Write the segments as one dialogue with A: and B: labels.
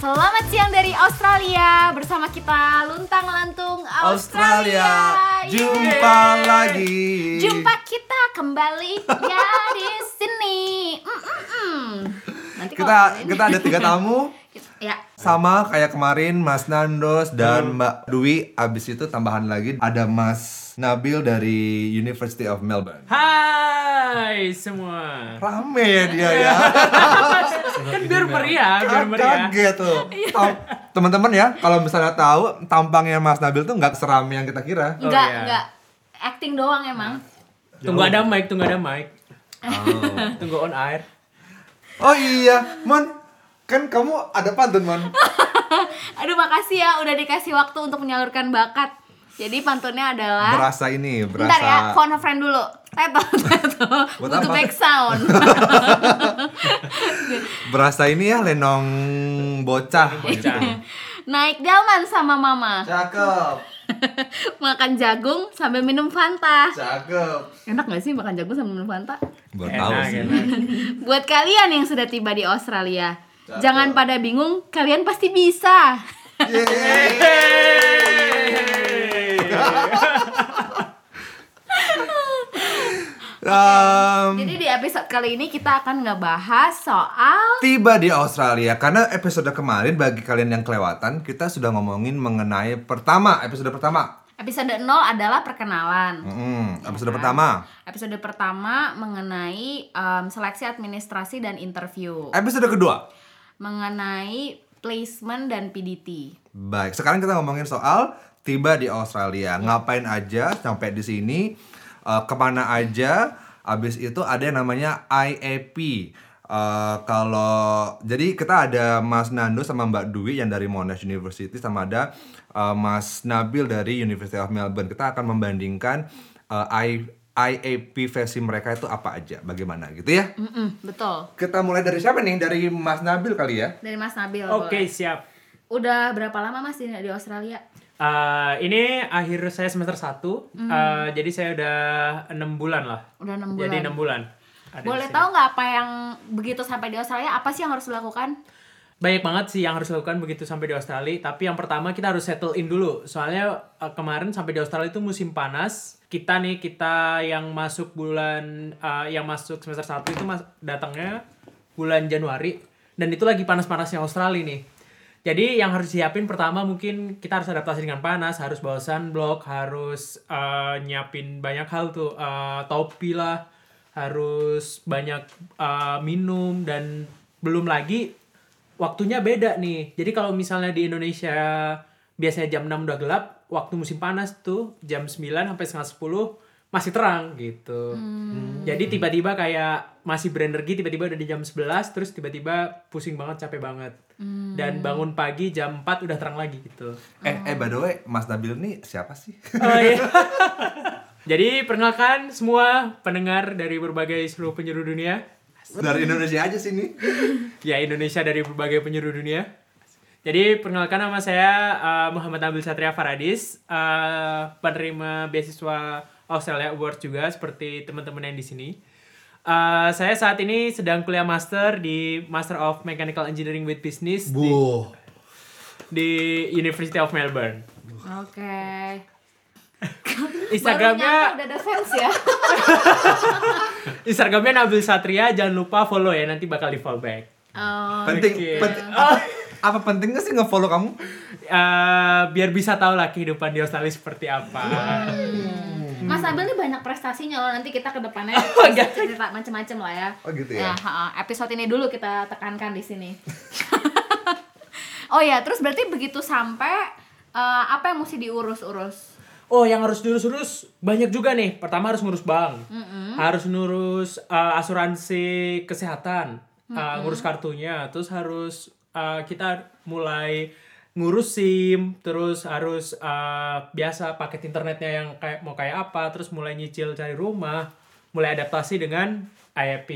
A: Selamat siang dari Australia bersama kita luntang lantung Australia.
B: Australia, jumpa
A: Yeay.
B: lagi.
A: Jumpa kita kembali ya di sini. Mm, mm, mm. Nanti kalau
B: Kita
A: ini-
B: kita ada tiga tamu
A: ya
B: sama kayak kemarin Mas Nandos dan Mbak Dwi. Abis itu tambahan lagi ada Mas Nabil dari University of Melbourne.
C: Hai semua.
B: Rame ya dia ya.
C: Kan biar meriah, biar
A: ya.
C: meriah.
B: Kaget tuh. Tam- Teman-teman ya, kalau misalnya tahu tampangnya Mas Nabil tuh nggak seramai yang kita kira.
A: enggak
C: iya.
A: enggak acting doang emang.
C: Tunggu ada mic, tunggu ada mic. Tunggu on air.
B: Oh iya, Mon, kan kamu ada pantun Mon.
A: Aduh makasih ya udah dikasih waktu untuk menyalurkan bakat. Jadi pantunnya adalah
B: Berasa ini, berasa.
A: Bentar ya, phone a friend dulu. Teto, teto.
B: Buat
A: Butuh
B: apa?
A: back sound.
B: berasa ini ya lenong bocah.
C: Bocah.
A: Naik delman sama mama.
B: Cakep,
A: Makan jagung sambil minum Fanta.
B: cakep.
A: Enak gak sih makan jagung sambil minum Fanta?
B: Baru tahu sih.
A: Buat kalian yang sudah tiba di Australia, jangan pada bingung, kalian pasti bisa.
B: Em,
A: Jadi di episode kali ini kita akan ngebahas soal
B: tiba di Australia karena episode kemarin bagi kalian yang kelewatan kita sudah ngomongin mengenai pertama episode pertama.
A: episode 0 adalah perkenalan.
B: Mm, episode
A: kan?
B: pertama.
A: Episode pertama mengenai em, seleksi administrasi dan interview.
B: Episode kedua.
A: Mengenai placement dan PDT.
B: Baik, sekarang kita ngomongin soal tiba di Australia. Ngapain aja sampai di sini? eh, kemana aja? Abis itu ada yang namanya IAP. Eh, kalau jadi kita ada Mas Nando sama Mbak Dwi yang dari Monash University sama ada eh, Mas Nabil dari University of Melbourne. Kita akan membandingkan eh, I- IAP versi mereka itu apa aja, bagaimana gitu ya.
A: Mm-mm, betul.
B: Kita mulai dari siapa nih? Dari Mas Nabil kali ya.
A: Dari Mas Nabil. boleh.
C: Oke, siap.
A: Udah berapa lama Mas di, di Australia?
C: Eh, ini akhir saya semester 1.
A: Hmm.
C: jadi saya udah 6 bulan lah.
A: Udah 6 bulan.
C: Jadi 6 bulan. Ada di
A: Boleh
C: sini.
A: tahu nggak apa yang begitu sampai di Australia apa sih yang harus dilakukan?
C: Banyak banget sih yang harus dilakukan begitu sampai di Australia. Tapi yang pertama kita harus settle in dulu. Soalnya eh, kemarin sampai di Australia itu musim panas. Kita nih kita yang masuk bulan eh, yang masuk semester 1 itu mas- datangnya bulan Januari dan itu lagi panas-panasnya Australia nih. Jadi yang harus siapin pertama mungkin kita harus adaptasi dengan panas, harus bawa sunblock, harus eh, nyiapin banyak hal tuh, eh, topi lah, harus banyak eh, minum dan belum lagi waktunya beda nih. Jadi kalau misalnya di Indonesia biasanya jam 6 udah gelap, waktu musim panas tuh jam 9 sampai setengah 10 masih terang gitu. Jadi tiba-tiba kayak masih berenergi, tiba-tiba udah di jam 11 terus tiba-tiba pusing banget, capek banget. Dan bangun pagi jam 4 udah terang lagi gitu.
B: Eh, eh by the way, Mas Nabil nih siapa sih?
C: Oh, iya. Jadi perkenalkan semua pendengar dari berbagai seluruh penjuru dunia.
B: Dari Indonesia aja sini.
C: ya Indonesia dari berbagai penjuru dunia. Jadi perkenalkan nama saya eh, Muhammad Nabil Satria Faradis, eh, penerima beasiswa Australia Award juga seperti teman-teman yang di sini. Eh, saya saat ini sedang kuliah master di Master of Mechanical Engineering with Business di,
B: Bu.
C: di University of Melbourne.
A: Oke. Baru nyampe
C: Instagramnya
A: udah ada fans ya.
C: Instagramnya Nabil Satria, jangan lupa follow ya nanti bakal di follow back.
A: Oh,
B: Penting,
C: Oke.
B: penting- apa, apa pentingnya sih nge-follow kamu?
C: Eh, biar bisa tahu lah kehidupan di Australia seperti apa.
A: Mas Nabil nih banyak prestasinya loh. Nanti kita ke depannya
C: Oh,
A: bisa cerita macem-macem lah ya.
B: Oh, gitu ya?
A: ha-ha. episode ini dulu kita tekankan di sini. oh ya, terus berarti begitu sampai eh, apa yang mesti diurus-urus?
C: Oh, yang harus diurus-urus banyak juga nih. Pertama harus ngurus bank, harus ngurus uh, asuransi kesehatan, uh, ngurus kartunya, terus harus uh, kita mulai ngurus SIM, terus harus uh, biasa paket internetnya yang kayak mau kayak apa, terus mulai nyicil cari rumah, mulai adaptasi dengan E IAP.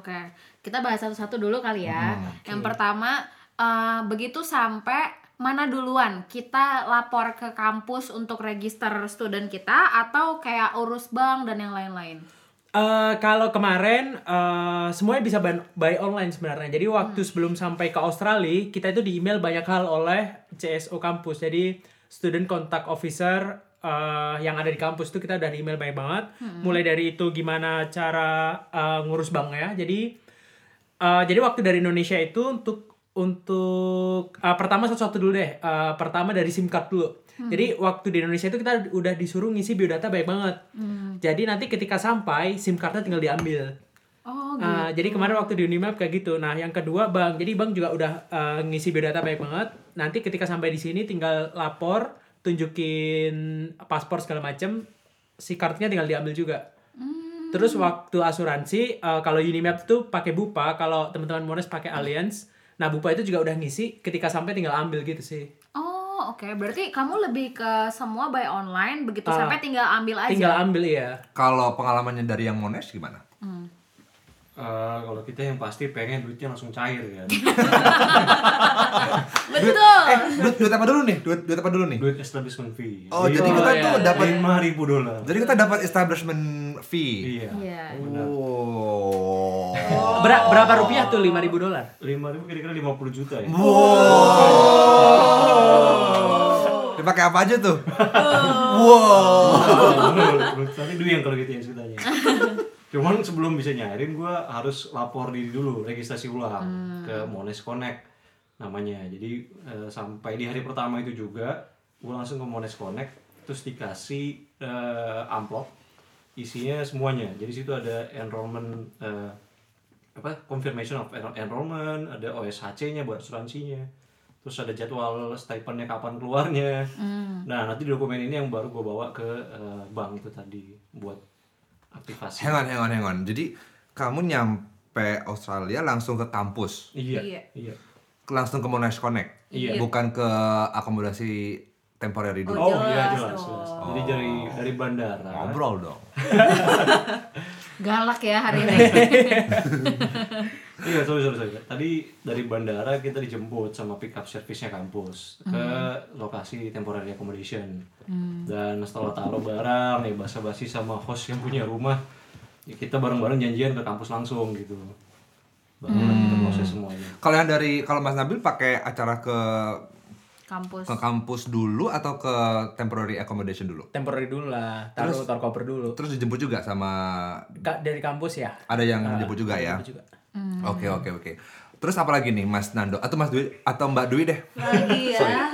A: Oke, kita bahas satu-satu dulu kali ya.
B: Hmm,
A: Yang pertama, eh, begitu sampai mana duluan kita lapor ke kampus untuk register student kita atau kayak urus bank dan yang lain-lain.
C: Eh, kalau kemarin eh, semuanya bisa ban- buy online sebenarnya. Jadi waktu sebelum sampai ke Australia, kita itu di email banyak hal oleh CSO kampus. Jadi student contact officer eh, yang ada di kampus itu kita udah di email banyak banget. Mulai dari itu gimana cara eh, ngurus banknya. Jadi eh, jadi waktu dari Indonesia itu untuk untuk eh, pertama satu-satu dulu deh. Eh, pertama dari SIM card dulu. Jadi waktu di Indonesia itu kita udah disuruh ngisi biodata banyak banget. Hmm. Jadi nanti ketika sampai SIM cardnya tinggal diambil.
A: Oh, gitu.
C: Ah, jadi kemarin waktu di Unimap kayak gitu. Nah, yang kedua Bang. Jadi Bang juga udah eh, ngisi biodata banyak banget. Nanti ketika sampai di sini tinggal lapor, tunjukin paspor segala macem si kartunya tinggal diambil juga.
B: Ah.
A: Hmm.
C: Terus waktu asuransi eh, kalau Unimap itu pakai Bupa, kalau teman-teman Monas pakai Allianz. Nah, Bupa itu juga udah ngisi ketika sampai tinggal ambil gitu sih.
A: Oh, oke. Berarti kamu lebih ke semua by online begitu
C: Ah.
A: sampai tinggal ambil aja.
C: Tinggal ambil iya.
B: Kalau pengalamannya dari yang Monash gimana?
A: Hmm.
D: Eh, kalau kita yang pasti pengen duitnya langsung cair ya.
A: Betul.
B: Eh, duit, duit apa dulu nih? Duit, duit apa dulu nih?
D: Duit establishment fee.
B: Oh, jadi
C: Oh,
B: kita
C: iya.
B: tuh dapat
D: lima ribu dolar.
B: jadi kita dapat establishment fee.
D: Iya.
A: Iya.
D: Benar.
B: Oh.
C: Ber- berapa rupiah tuh 5000 dolar?
D: Lima ribu kira-kira lima puluh juta ya.
B: Dipakai apa aja tuh? wow.
D: Menurut saya duit yang kalau gitu yang ceritanya. Cuman sebelum bisa nyairin gue harus lapor diri dulu, registrasi ulang
B: Hmm.
D: ke Monash Connect namanya. Jadi eh, sampai di hari pertama itu juga gue langsung ke Monash Connect terus dikasih eh, amplop isinya semuanya. Jadi situ ada enrollment eh, apa confirmation of enro- enrollment, ada OSHC-nya buat asuransinya. Terus ada jadwal stipendnya kapan keluarnya. Nah, nanti dokumen ini yang baru gue bawa ke eh, bank itu tadi buat aktivasi.
B: Hang on, hang on, hang on. Jadi kamu nyampe Australia langsung ke kampus,
D: Iya.
A: Iya.
D: Iya.
B: langsung ke Monash Connect,
D: Iya.
B: bukan ke akomodasi temporary dulu.
D: Oh,
A: jelas
D: iya jelas,
A: dong.
D: jelas. Jadi dari dari bandara.
B: Ngobrol dong.
A: Galak ya hari ini.
D: Iya, sorry, sorry, sorry. Tadi dari bandara kita dijemput sama pick up service-nya kampus ke lokasi temporary accommodation. Dan setelah taruh barang, nih basa-basi sama host yang punya rumah, ya kita bareng-bareng janjian ke kampus langsung gitu. Baru kita proses semuanya.
B: Kalau yang dari kalau Mas Nabil pakai acara ke
A: Kampus.
B: ke kampus dulu atau ke temporary accommodation dulu?
C: Temporary dulu lah. Taruh taruh koper dulu.
B: Terus dijemput juga sama
C: Ka- dari kampus ya?
B: ada yang dijemput juga ya.
C: Juga.
B: Oke, oke, oke. Terus apa lagi nih Mas Nando atau Mas Dwi atau Mbak Dwi deh?
E: lagi ya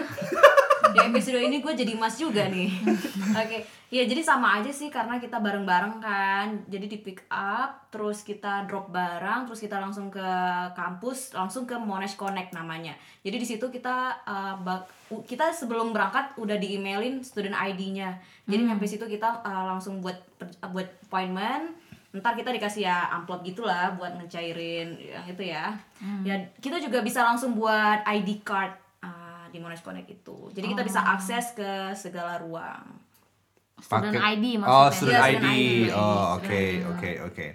E: di episode ini gue jadi mas juga nih oke ya jadi sama aja sih karena kita bareng bareng kan jadi di pick up terus kita drop barang terus kita langsung ke kampus langsung ke Monash Connect namanya jadi di situ kita eh, bak- u- kita sebelum berangkat udah di emailin student ID-nya jadi sampai situ kita eh, langsung buat per- buat appointment ntar kita dikasih ya amplop gitulah buat ngecairin yang itu ya ya kita juga bisa langsung buat ID card ah, di Monash Connect itu jadi kita bisa akses ke segala ruang
A: Student
B: Pakai-
A: ID
B: Oh,
A: maksudnya.
B: student
E: Iya,
B: ID.
E: student ID.
B: Oh, oke, oke, oke.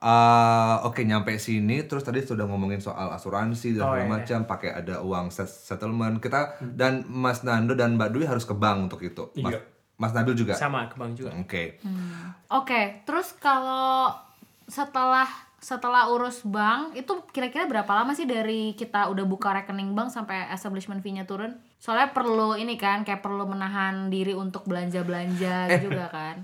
B: Eh, oke nyampe sini terus tadi sudah ngomongin soal asuransi dan
C: Oh,
B: segala
C: iya. Hmm.
B: macam pakai ada uang set- settlement kita dan Mas Nando dan Mbak Dwi harus ke bank untuk itu. Mas,
D: Iya.
B: Mas Nabil juga. Oke.
C: Sama ke bank
B: Hmm.
C: juga.
A: Hmm. Oke, terus kalau setelah setelah urus bank itu kira-kira berapa lama sih dari kita udah buka rekening bank sampai establishment fee-nya turun? Soalnya perlu ini kan kayak perlu menahan diri untuk belanja-belanja
C: Eh.
A: juga kan.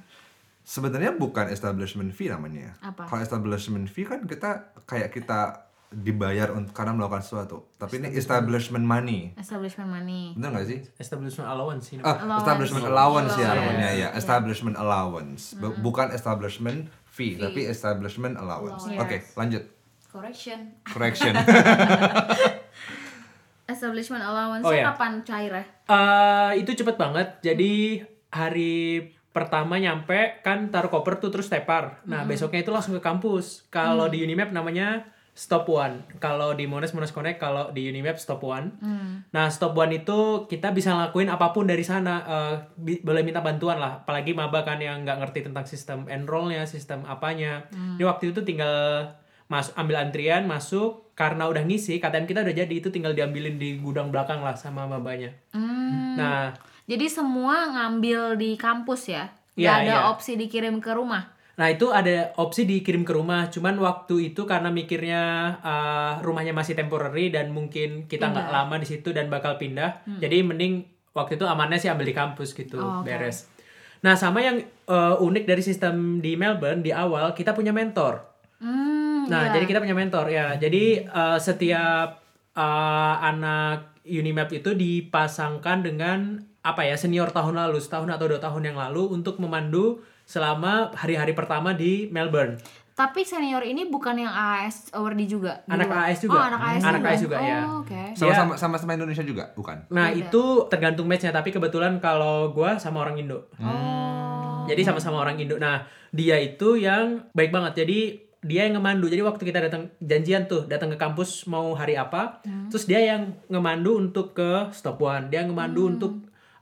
B: Sebenarnya bukan establishment fee namanya.
A: Apa?
B: Kalau establishment fee kan kita kayak kita dibayar untuk karena melakukan sesuatu. Tapi ini establishment money.
A: Establishment money.
B: Bener gak sih?
C: Establishment allowance ini.
B: Ah, establishment
C: Oh,
B: allowance ya
C: iya,
B: namanya
A: Iya.
B: ya establishment allowance Bu-
A: Hmm.
B: bukan establishment fee, tapi establishment allowance oke lanjut
E: correction
B: correction
A: Establishment allowance
C: Oh, iya.
A: kapan cair ya?
C: Eh, itu cepet banget. Jadi hari pertama nyampe kan taruh koper tuh terus tepar. Nah
B: Hmm.
C: besoknya itu langsung ke kampus. Kalau di Unimap namanya Stop One. Kalau di Monas Monas Connect, kalau di Unimap Stop One. Nah Stop One itu kita bisa ngelakuin apapun dari sana. Eh, bi- boleh minta bantuan lah. Apalagi maba kan yang nggak ngerti tentang sistem enrollnya, sistem apanya. Jadi waktu itu tinggal masuk ambil antrian masuk karena udah ngisi KTM kita udah jadi itu tinggal diambilin di gudang belakang lah sama mabanya. Nah,
A: Hmm. Jadi semua ngambil di kampus ya? Gak
C: Iya,
A: ada
C: iya.
A: opsi dikirim ke rumah.
C: Nah itu ada opsi dikirim ke rumah, cuman waktu itu karena mikirnya eh, rumahnya masih temporary dan mungkin kita nggak lama di situ dan bakal pindah, jadi mending waktu itu amannya sih ambil di kampus gitu,
A: Hmm. Oh, oke.
C: beres. Nah sama yang eh, unik dari sistem di Melbourne di awal kita punya mentor.
A: Hmm, iya.
C: Nah, jadi kita punya mentor ya. Jadi eh, setiap eh, anak Unimap itu dipasangkan dengan apa ya senior tahun lalu, setahun atau dua tahun yang lalu untuk memandu selama hari-hari pertama di Melbourne.
A: Tapi senior ini bukan yang AS awardee juga. di
C: Anak
A: luar?
C: AAS juga.
A: Oh, anak AS
C: Anak
A: juga.
C: AAS juga, ya.
A: Oh, oke.
B: Sama sama sama sama Indonesia juga, bukan?
C: Nah,
A: Beda.
C: itu tergantung matchnya. Tapi kebetulan kalau gua sama orang Indo.
A: Oh.
C: Jadi sama-sama orang Indo. Nah, dia itu yang baik banget. Jadi dia yang ngemandu. Jadi waktu kita datang janjian tuh, datang ke kampus mau hari apa, terus dia yang ngemandu untuk ke Stop One. Dia yang ngemandu untuk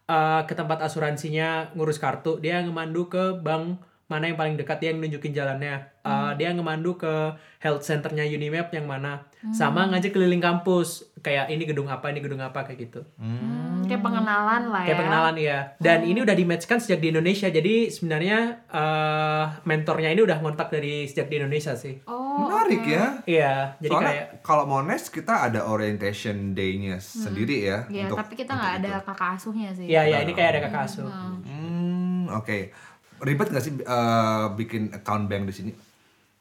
C: uh, ke tempat asuransinya ngurus kartu. Dia yang ngemandu ke bank mana yang paling dekat dia yang nunjukin jalannya. Uh, dia yang ngemandu ke health centernya Unimap yang mana. Sama ngajak keliling kampus. Kayak ini gedung apa, ini gedung apa kayak gitu.
A: Hmm, kayak pengenalan lah ya. Hmm.
C: Kayak pengenalan ya. Dan ini udah di-matchkan sejak di Indonesia. Jadi sebenarnya eh, mentornya ini udah ngontak dari sejak di Indonesia sih.
A: Oh.
B: Menarik
A: oke.
B: ya.
C: Iya, jadi
B: Soalnya
C: kayak
B: kalau Mones kita ada orientation day-nya sendiri ya
A: Iya,
B: untuk
A: tapi kita nggak ada kakak asuhnya sih.
C: Iya, iya, ini kayak ada kakak
A: Oh,
C: asuh.
B: Hmm, oke. Ribet gak sih eh, bikin account bank di sini?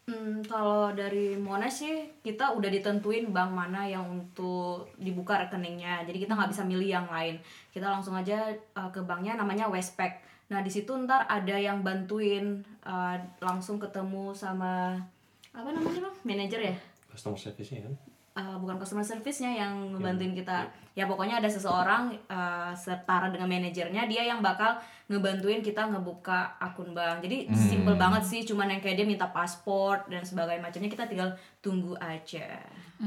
E: Hmm, kalau dari Monash sih kita udah ditentuin bank mana yang untuk dibuka rekeningnya. Jadi kita nggak bisa milih yang lain. Kita langsung aja uh, ke banknya namanya Westpac. Nah di situ ntar ada yang bantuin uh, langsung ketemu sama apa namanya bang? Manager ya?
D: customer service-nya kan.
E: Uh, bukan customer service-nya yang
B: Iya.
E: ngebantuin kita. Ya pokoknya ada seseorang uh, setara dengan manajernya dia yang bakal ngebantuin kita ngebuka akun bank. Jadi
B: Hmm.
E: simple banget sih, cuman yang kayak dia minta paspor dan sebagainya macamnya kita tinggal tunggu aja.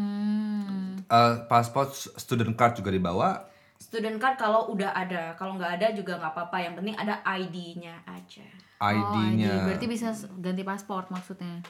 A: Hmm.
B: Eh, passport student card juga dibawa.
E: Student card kalau udah ada, kalau nggak ada juga nggak apa-apa. Yang penting ada ID-nya aja.
A: Oh, ID.
B: ID-nya.
A: Berarti bisa s- ganti paspor maksudnya.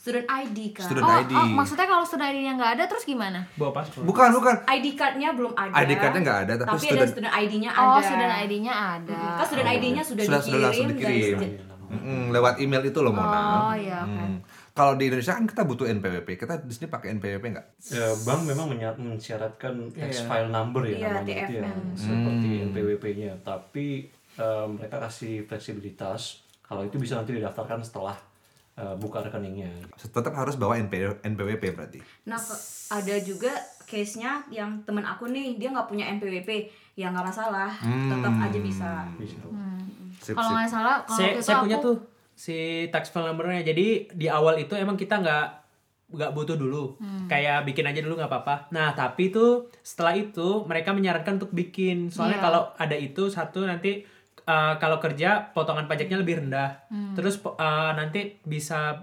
E: Student ID kan.
B: Student
A: Oh,
B: ID.
A: oh, maksudnya kalau sudah ID-nya nggak ada terus gimana?
C: Bawa paspor.
B: bukan, bukan.
E: ID Oh, card-nya belum ada.
B: ID card-nya nggak ada, tapi
E: ada
B: student- Oh, iya.
E: student ID-nya ada.
A: Oh, sudah ID-nya ada.
E: Kan student ID-nya sudah,
B: Sudah- sudah
E: dikirim,
B: langsung
E: dari
B: dikirim.
E: student-
B: Mm-mm, lewat email itu loh, Mona.
A: Oh, iya, oke.
B: Hmm. Kalau di Indonesia kan kita butuh NPWP. Kita di sini pakai NPWP nggak?
D: Ya, bank memang menya- mensyaratkan tax file number ya
E: Iya,
D: namanya itu ya,
E: TFN.
D: seperti NPWP-nya. Tapi eh, mereka kasih fleksibilitas kalau itu bisa nanti didaftarkan setelah eh, buka rekeningnya.
B: Tetap harus bawa NP- NPWP berarti.
E: Nah, ke- ada juga case-nya yang temen aku nih, dia nggak punya NPWP, ya nggak masalah, tetap aja
B: Hmm.
E: bisa.
D: Bisa.
E: Hmm.
B: Sip,
A: Kalau
B: sip.
A: nggak salah, kalau waktu
C: Saya,
A: itu
C: saya punya
A: aku-
C: tuh si tax file numbernya. Jadi di awal itu emang kita nggak nggak butuh dulu.
A: Hmm.
C: Kayak bikin aja dulu nggak apa-apa. Nah, tapi itu setelah itu mereka menyarankan untuk bikin.
A: Iya.
C: Soalnya kalau ada itu satu nanti uh, kalau kerja potongan pajaknya lebih rendah.
A: Hmm.
C: Terus po- uh, nanti bisa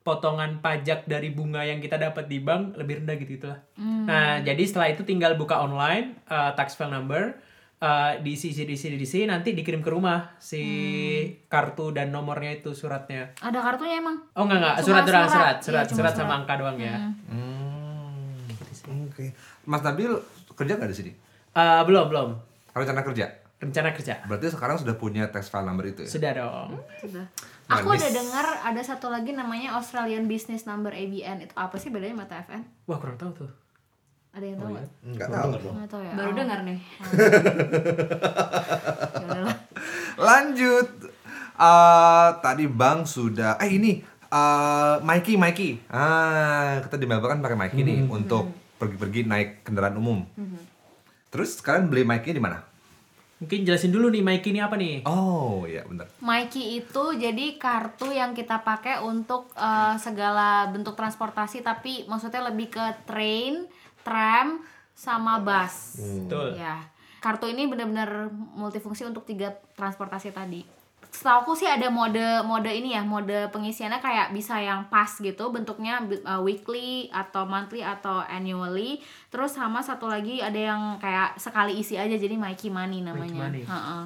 C: potongan pajak dari bunga yang kita dapat di bank lebih rendah gitu gitulah.
A: Hmm.
C: Nah, jadi setelah itu tinggal buka online uh, tax file number uh, diisi isi diisi diisi nanti dikirim ke rumah si
A: Hmm.
C: kartu dan nomornya itu suratnya.
A: Ada kartunya emang.
C: Oh enggak enggak,
A: Cuma
C: surat surat
A: surat.
C: surat
A: Iya,
C: surat,
A: cuma
C: surat sama
A: surat.
C: angka doang ya.
B: Hmm, Oke. Mas Nabil kerja nggak di sini?
C: Eh, belum belum.
B: Rencana kerja?
C: Rencana kerja.
B: Berarti sekarang sudah punya tax file number itu ya?
C: Sudah dong.
A: Sudah.
B: Manis.
A: Gitu. Aku ada dengar ada satu lagi namanya Australian Business Number ABN. Itu apa sih bedanya sama TFN?
C: Wah, kurang tahu tuh.
A: Ada yang tahu nggak?
B: Nggak tahu.
A: Nggak tahu ya.
E: Baru
A: Oh,
E: dengar nih.
A: ya udahlah.
B: Lanjut. Eh, tadi Bang sudah eh ini eh Mikey Mikey. Ah, kita di Melbourne kan pakai Mikey nih
C: Hmm.
B: untuk pergi-pergi naik kendaraan umum. Terus kalian beli Mikey di mana?
C: Mungkin jelasin dulu nih Mikey ini apa nih?
B: Oh, iya bener
A: Mikey itu jadi kartu yang kita pakai untuk eh, segala bentuk transportasi tapi maksudnya lebih ke train, tram, sama bus.
C: Betul.
A: Ya. Kartu ini benar-benar multifungsi untuk tiga transportasi tadi. Setahu aku sih ada mode mode ini ya, mode pengisiannya kayak bisa yang pas gitu, bentuknya uh, weekly atau monthly atau annually. Terus sama satu lagi ada yang kayak sekali isi aja jadi Mikey Money namanya.
C: Money.
A: Heeh.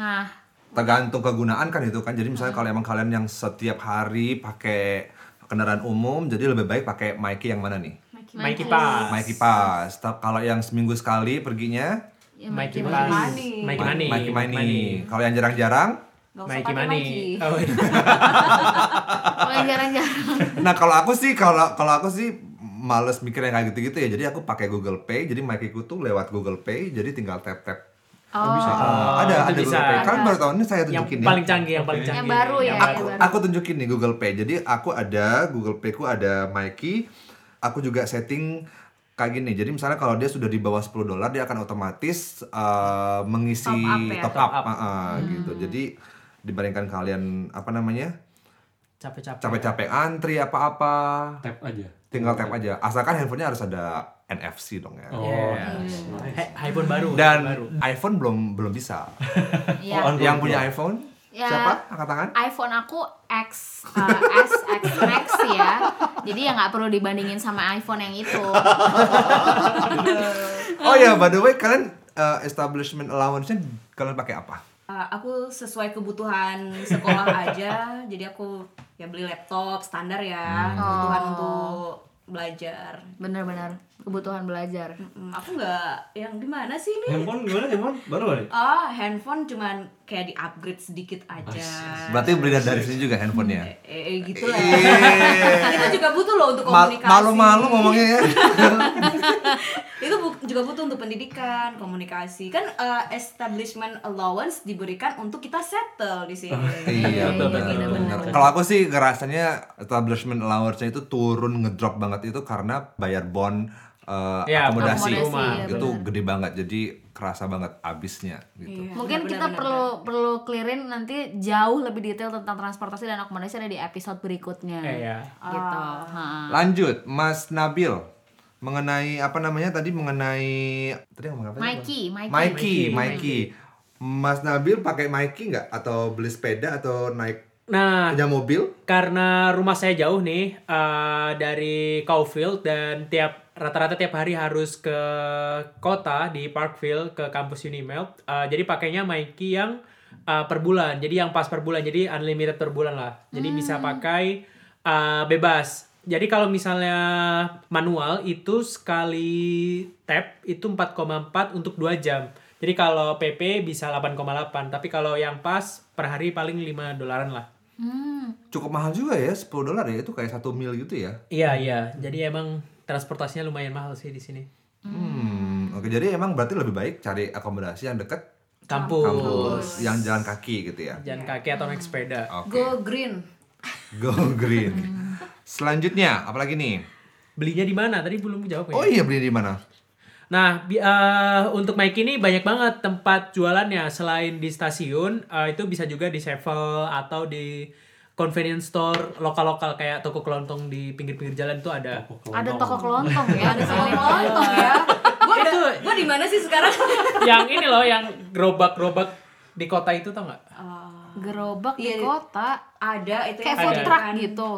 A: Nah,
B: Tergantung kegunaan kan itu kan. Jadi misalnya
C: Hmm.
B: kalau emang kalian yang setiap hari pakai kendaraan umum, jadi lebih baik pakai Mikey yang mana nih?
C: Mikey Pass.
B: Mikey Pas. Tapi Kalau yang seminggu sekali perginya
A: ya Mikey
C: Mikey Pass.
A: Money.
C: Mikey Money.
B: Mikey Money. Kalau yang jarang-jarang
E: Gak usah
C: Mikey
E: pakai
C: Mani.
E: Mikey.
C: Oh, iya.
A: Kalau yang jarang-jarang.
B: Nah kalau aku sih kalau kalau aku sih males mikir yang kayak gitu-gitu ya. Jadi aku pakai Google Pay. Jadi Mikeyku tuh lewat Google Pay. Jadi tinggal tap tap.
A: Oh,
B: Ah, ada ada
C: itu
B: Google
C: bisa.
B: Pay. Kan
A: Ada.
B: baru tahun ini saya
C: yang
B: tunjukin ya.
C: paling canggih, yang paling
D: Yang
C: canggih.
A: baru ya,
C: Yang
A: yang
B: Aku,
A: baru.
B: aku tunjukin nih Google Pay. Jadi aku ada Google Pay ku ada Mikey. Aku juga setting kayak gini. Jadi misalnya kalau dia sudah di bawah 10 dolar dia akan otomatis eh,
A: Top
B: mengisi
A: up ya?
B: top
C: Top
B: up,
C: up.
B: ah, gitu. Jadi dibandingkan kalian apa namanya?
C: Capek-capek.
B: capek-capek antri apa-apa.
D: Tap aja.
B: Tinggal tap aja. Asalkan handphonenya harus ada NFC dong ya.
D: Oh.
C: Yes.
E: Iya.
C: He- iPhone baru.
B: Dan
C: iPhone baru.
B: iPhone belum belum bisa.
A: Iya.
D: Oh,
B: Yang punya iPhone
A: Ya.
B: siapa? Angkat tangan.
A: iPhone aku X uh, S X Max ya. Jadi ya nggak perlu dibandingin sama iPhone yang itu.
B: Oh ya, by the way kalian eh, establishment allowance-nya kalian pakai apa?
E: Uh, aku sesuai kebutuhan sekolah aja jadi aku ya beli laptop standar ya
B: Hmm.
E: kebutuhan untuk belajar
A: Bener-bener kebutuhan belajar.
E: Hmm, aku nggak yang gimana sih ini
D: Handphone gimana handphone? Baru ada.
E: ah handphone cuman kayak di upgrade sedikit aja
B: Berarti beli dari- dari sini juga handphonenya.
E: eh, eh, gitu lah
B: Iya.
E: itu juga butuh loh untuk
B: Ma-
E: komunikasi
B: Malu-malu ngomongnya ya.
E: itu bu- juga butuh untuk pendidikan komunikasi kan uh, establishment allowance diberikan untuk kita settle di sini
B: Iya
A: betul,
B: benar.
A: benar,
B: benar.
A: benar.
B: Kalau aku sih ngerasanya establishment allowance-nya itu turun ngedrop banget itu karena bayar bond eh,
C: Ya,
B: akomodasi,
A: akomodasi, Rumah. iya,
B: itu
A: benar.
B: gede banget jadi kerasa banget abisnya gitu.
E: Iya,
A: Ya, Mungkin
E: benar-benar,
A: kita
E: benar-benar.
A: perlu perlu clearin nanti jauh lebih detail tentang transportasi dan akomodasi ada di episode berikutnya.
C: Eh, ya.
A: Gitu.
E: Ah.
A: Ha.
B: Lanjut Mas Nabil mengenai apa namanya tadi mengenai tadi ngomong apa? sih?
A: Mikey, Mikey.
B: Mikey, Mikey. Mas Nabil pakai Mikey nggak atau beli sepeda atau naik
C: Nah,
B: punya mobil?
C: karena rumah saya jauh nih eh, dari Caulfield dan tiap rata-rata tiap hari harus ke kota di Parkville ke kampus Unimelt. Eh, jadi pakainya Mikey yang eh, per bulan. Jadi yang pas per bulan. Jadi unlimited per bulan lah. Jadi bisa pakai eh, bebas. Jadi kalau misalnya manual itu sekali tap itu 4,4 untuk 2 jam. Jadi kalau PP bisa 8,8, tapi kalau yang pas per hari paling 5 dolaran lah.
A: Hmm.
B: Cukup mahal juga ya, 10 dolar ya itu kayak satu mil gitu ya.
C: Iya iya, jadi emang transportasinya lumayan mahal sih di sini.
B: Hmm, oke jadi emang berarti lebih baik cari akomodasi yang dekat
C: Kampus,
B: kampus, Oh. yang jalan kaki gitu ya.
A: Iya.
C: jalan kaki atau
A: Hmm.
C: naik sepeda.
B: Oke.
E: go green
B: Go green. Selanjutnya, apalagi nih?
C: Belinya di mana? Tadi belum jawab ya.
B: Oh iya beli di mana?
C: Nah, bi- eh, untuk Mike ini banyak banget tempat jualannya. Selain di stasiun, eh, itu bisa juga di Sevel atau di convenience store lokal-lokal kayak toko kelontong di pinggir-pinggir jalan itu ada.
A: Ada toko kelontong ya, ada toko
E: Sama
A: kelontong.
E: kelontong ya gue
C: Itu.
E: gue di mana sih sekarang
C: yang ini loh, yang gerobak-gerobak di kota itu tau nggak?
A: Gerobak di
E: Iya.
A: kota.
E: Eh, ada itu
A: Kayak
E: yang
A: food
C: Ada.
A: truck
E: makan.
A: gitu.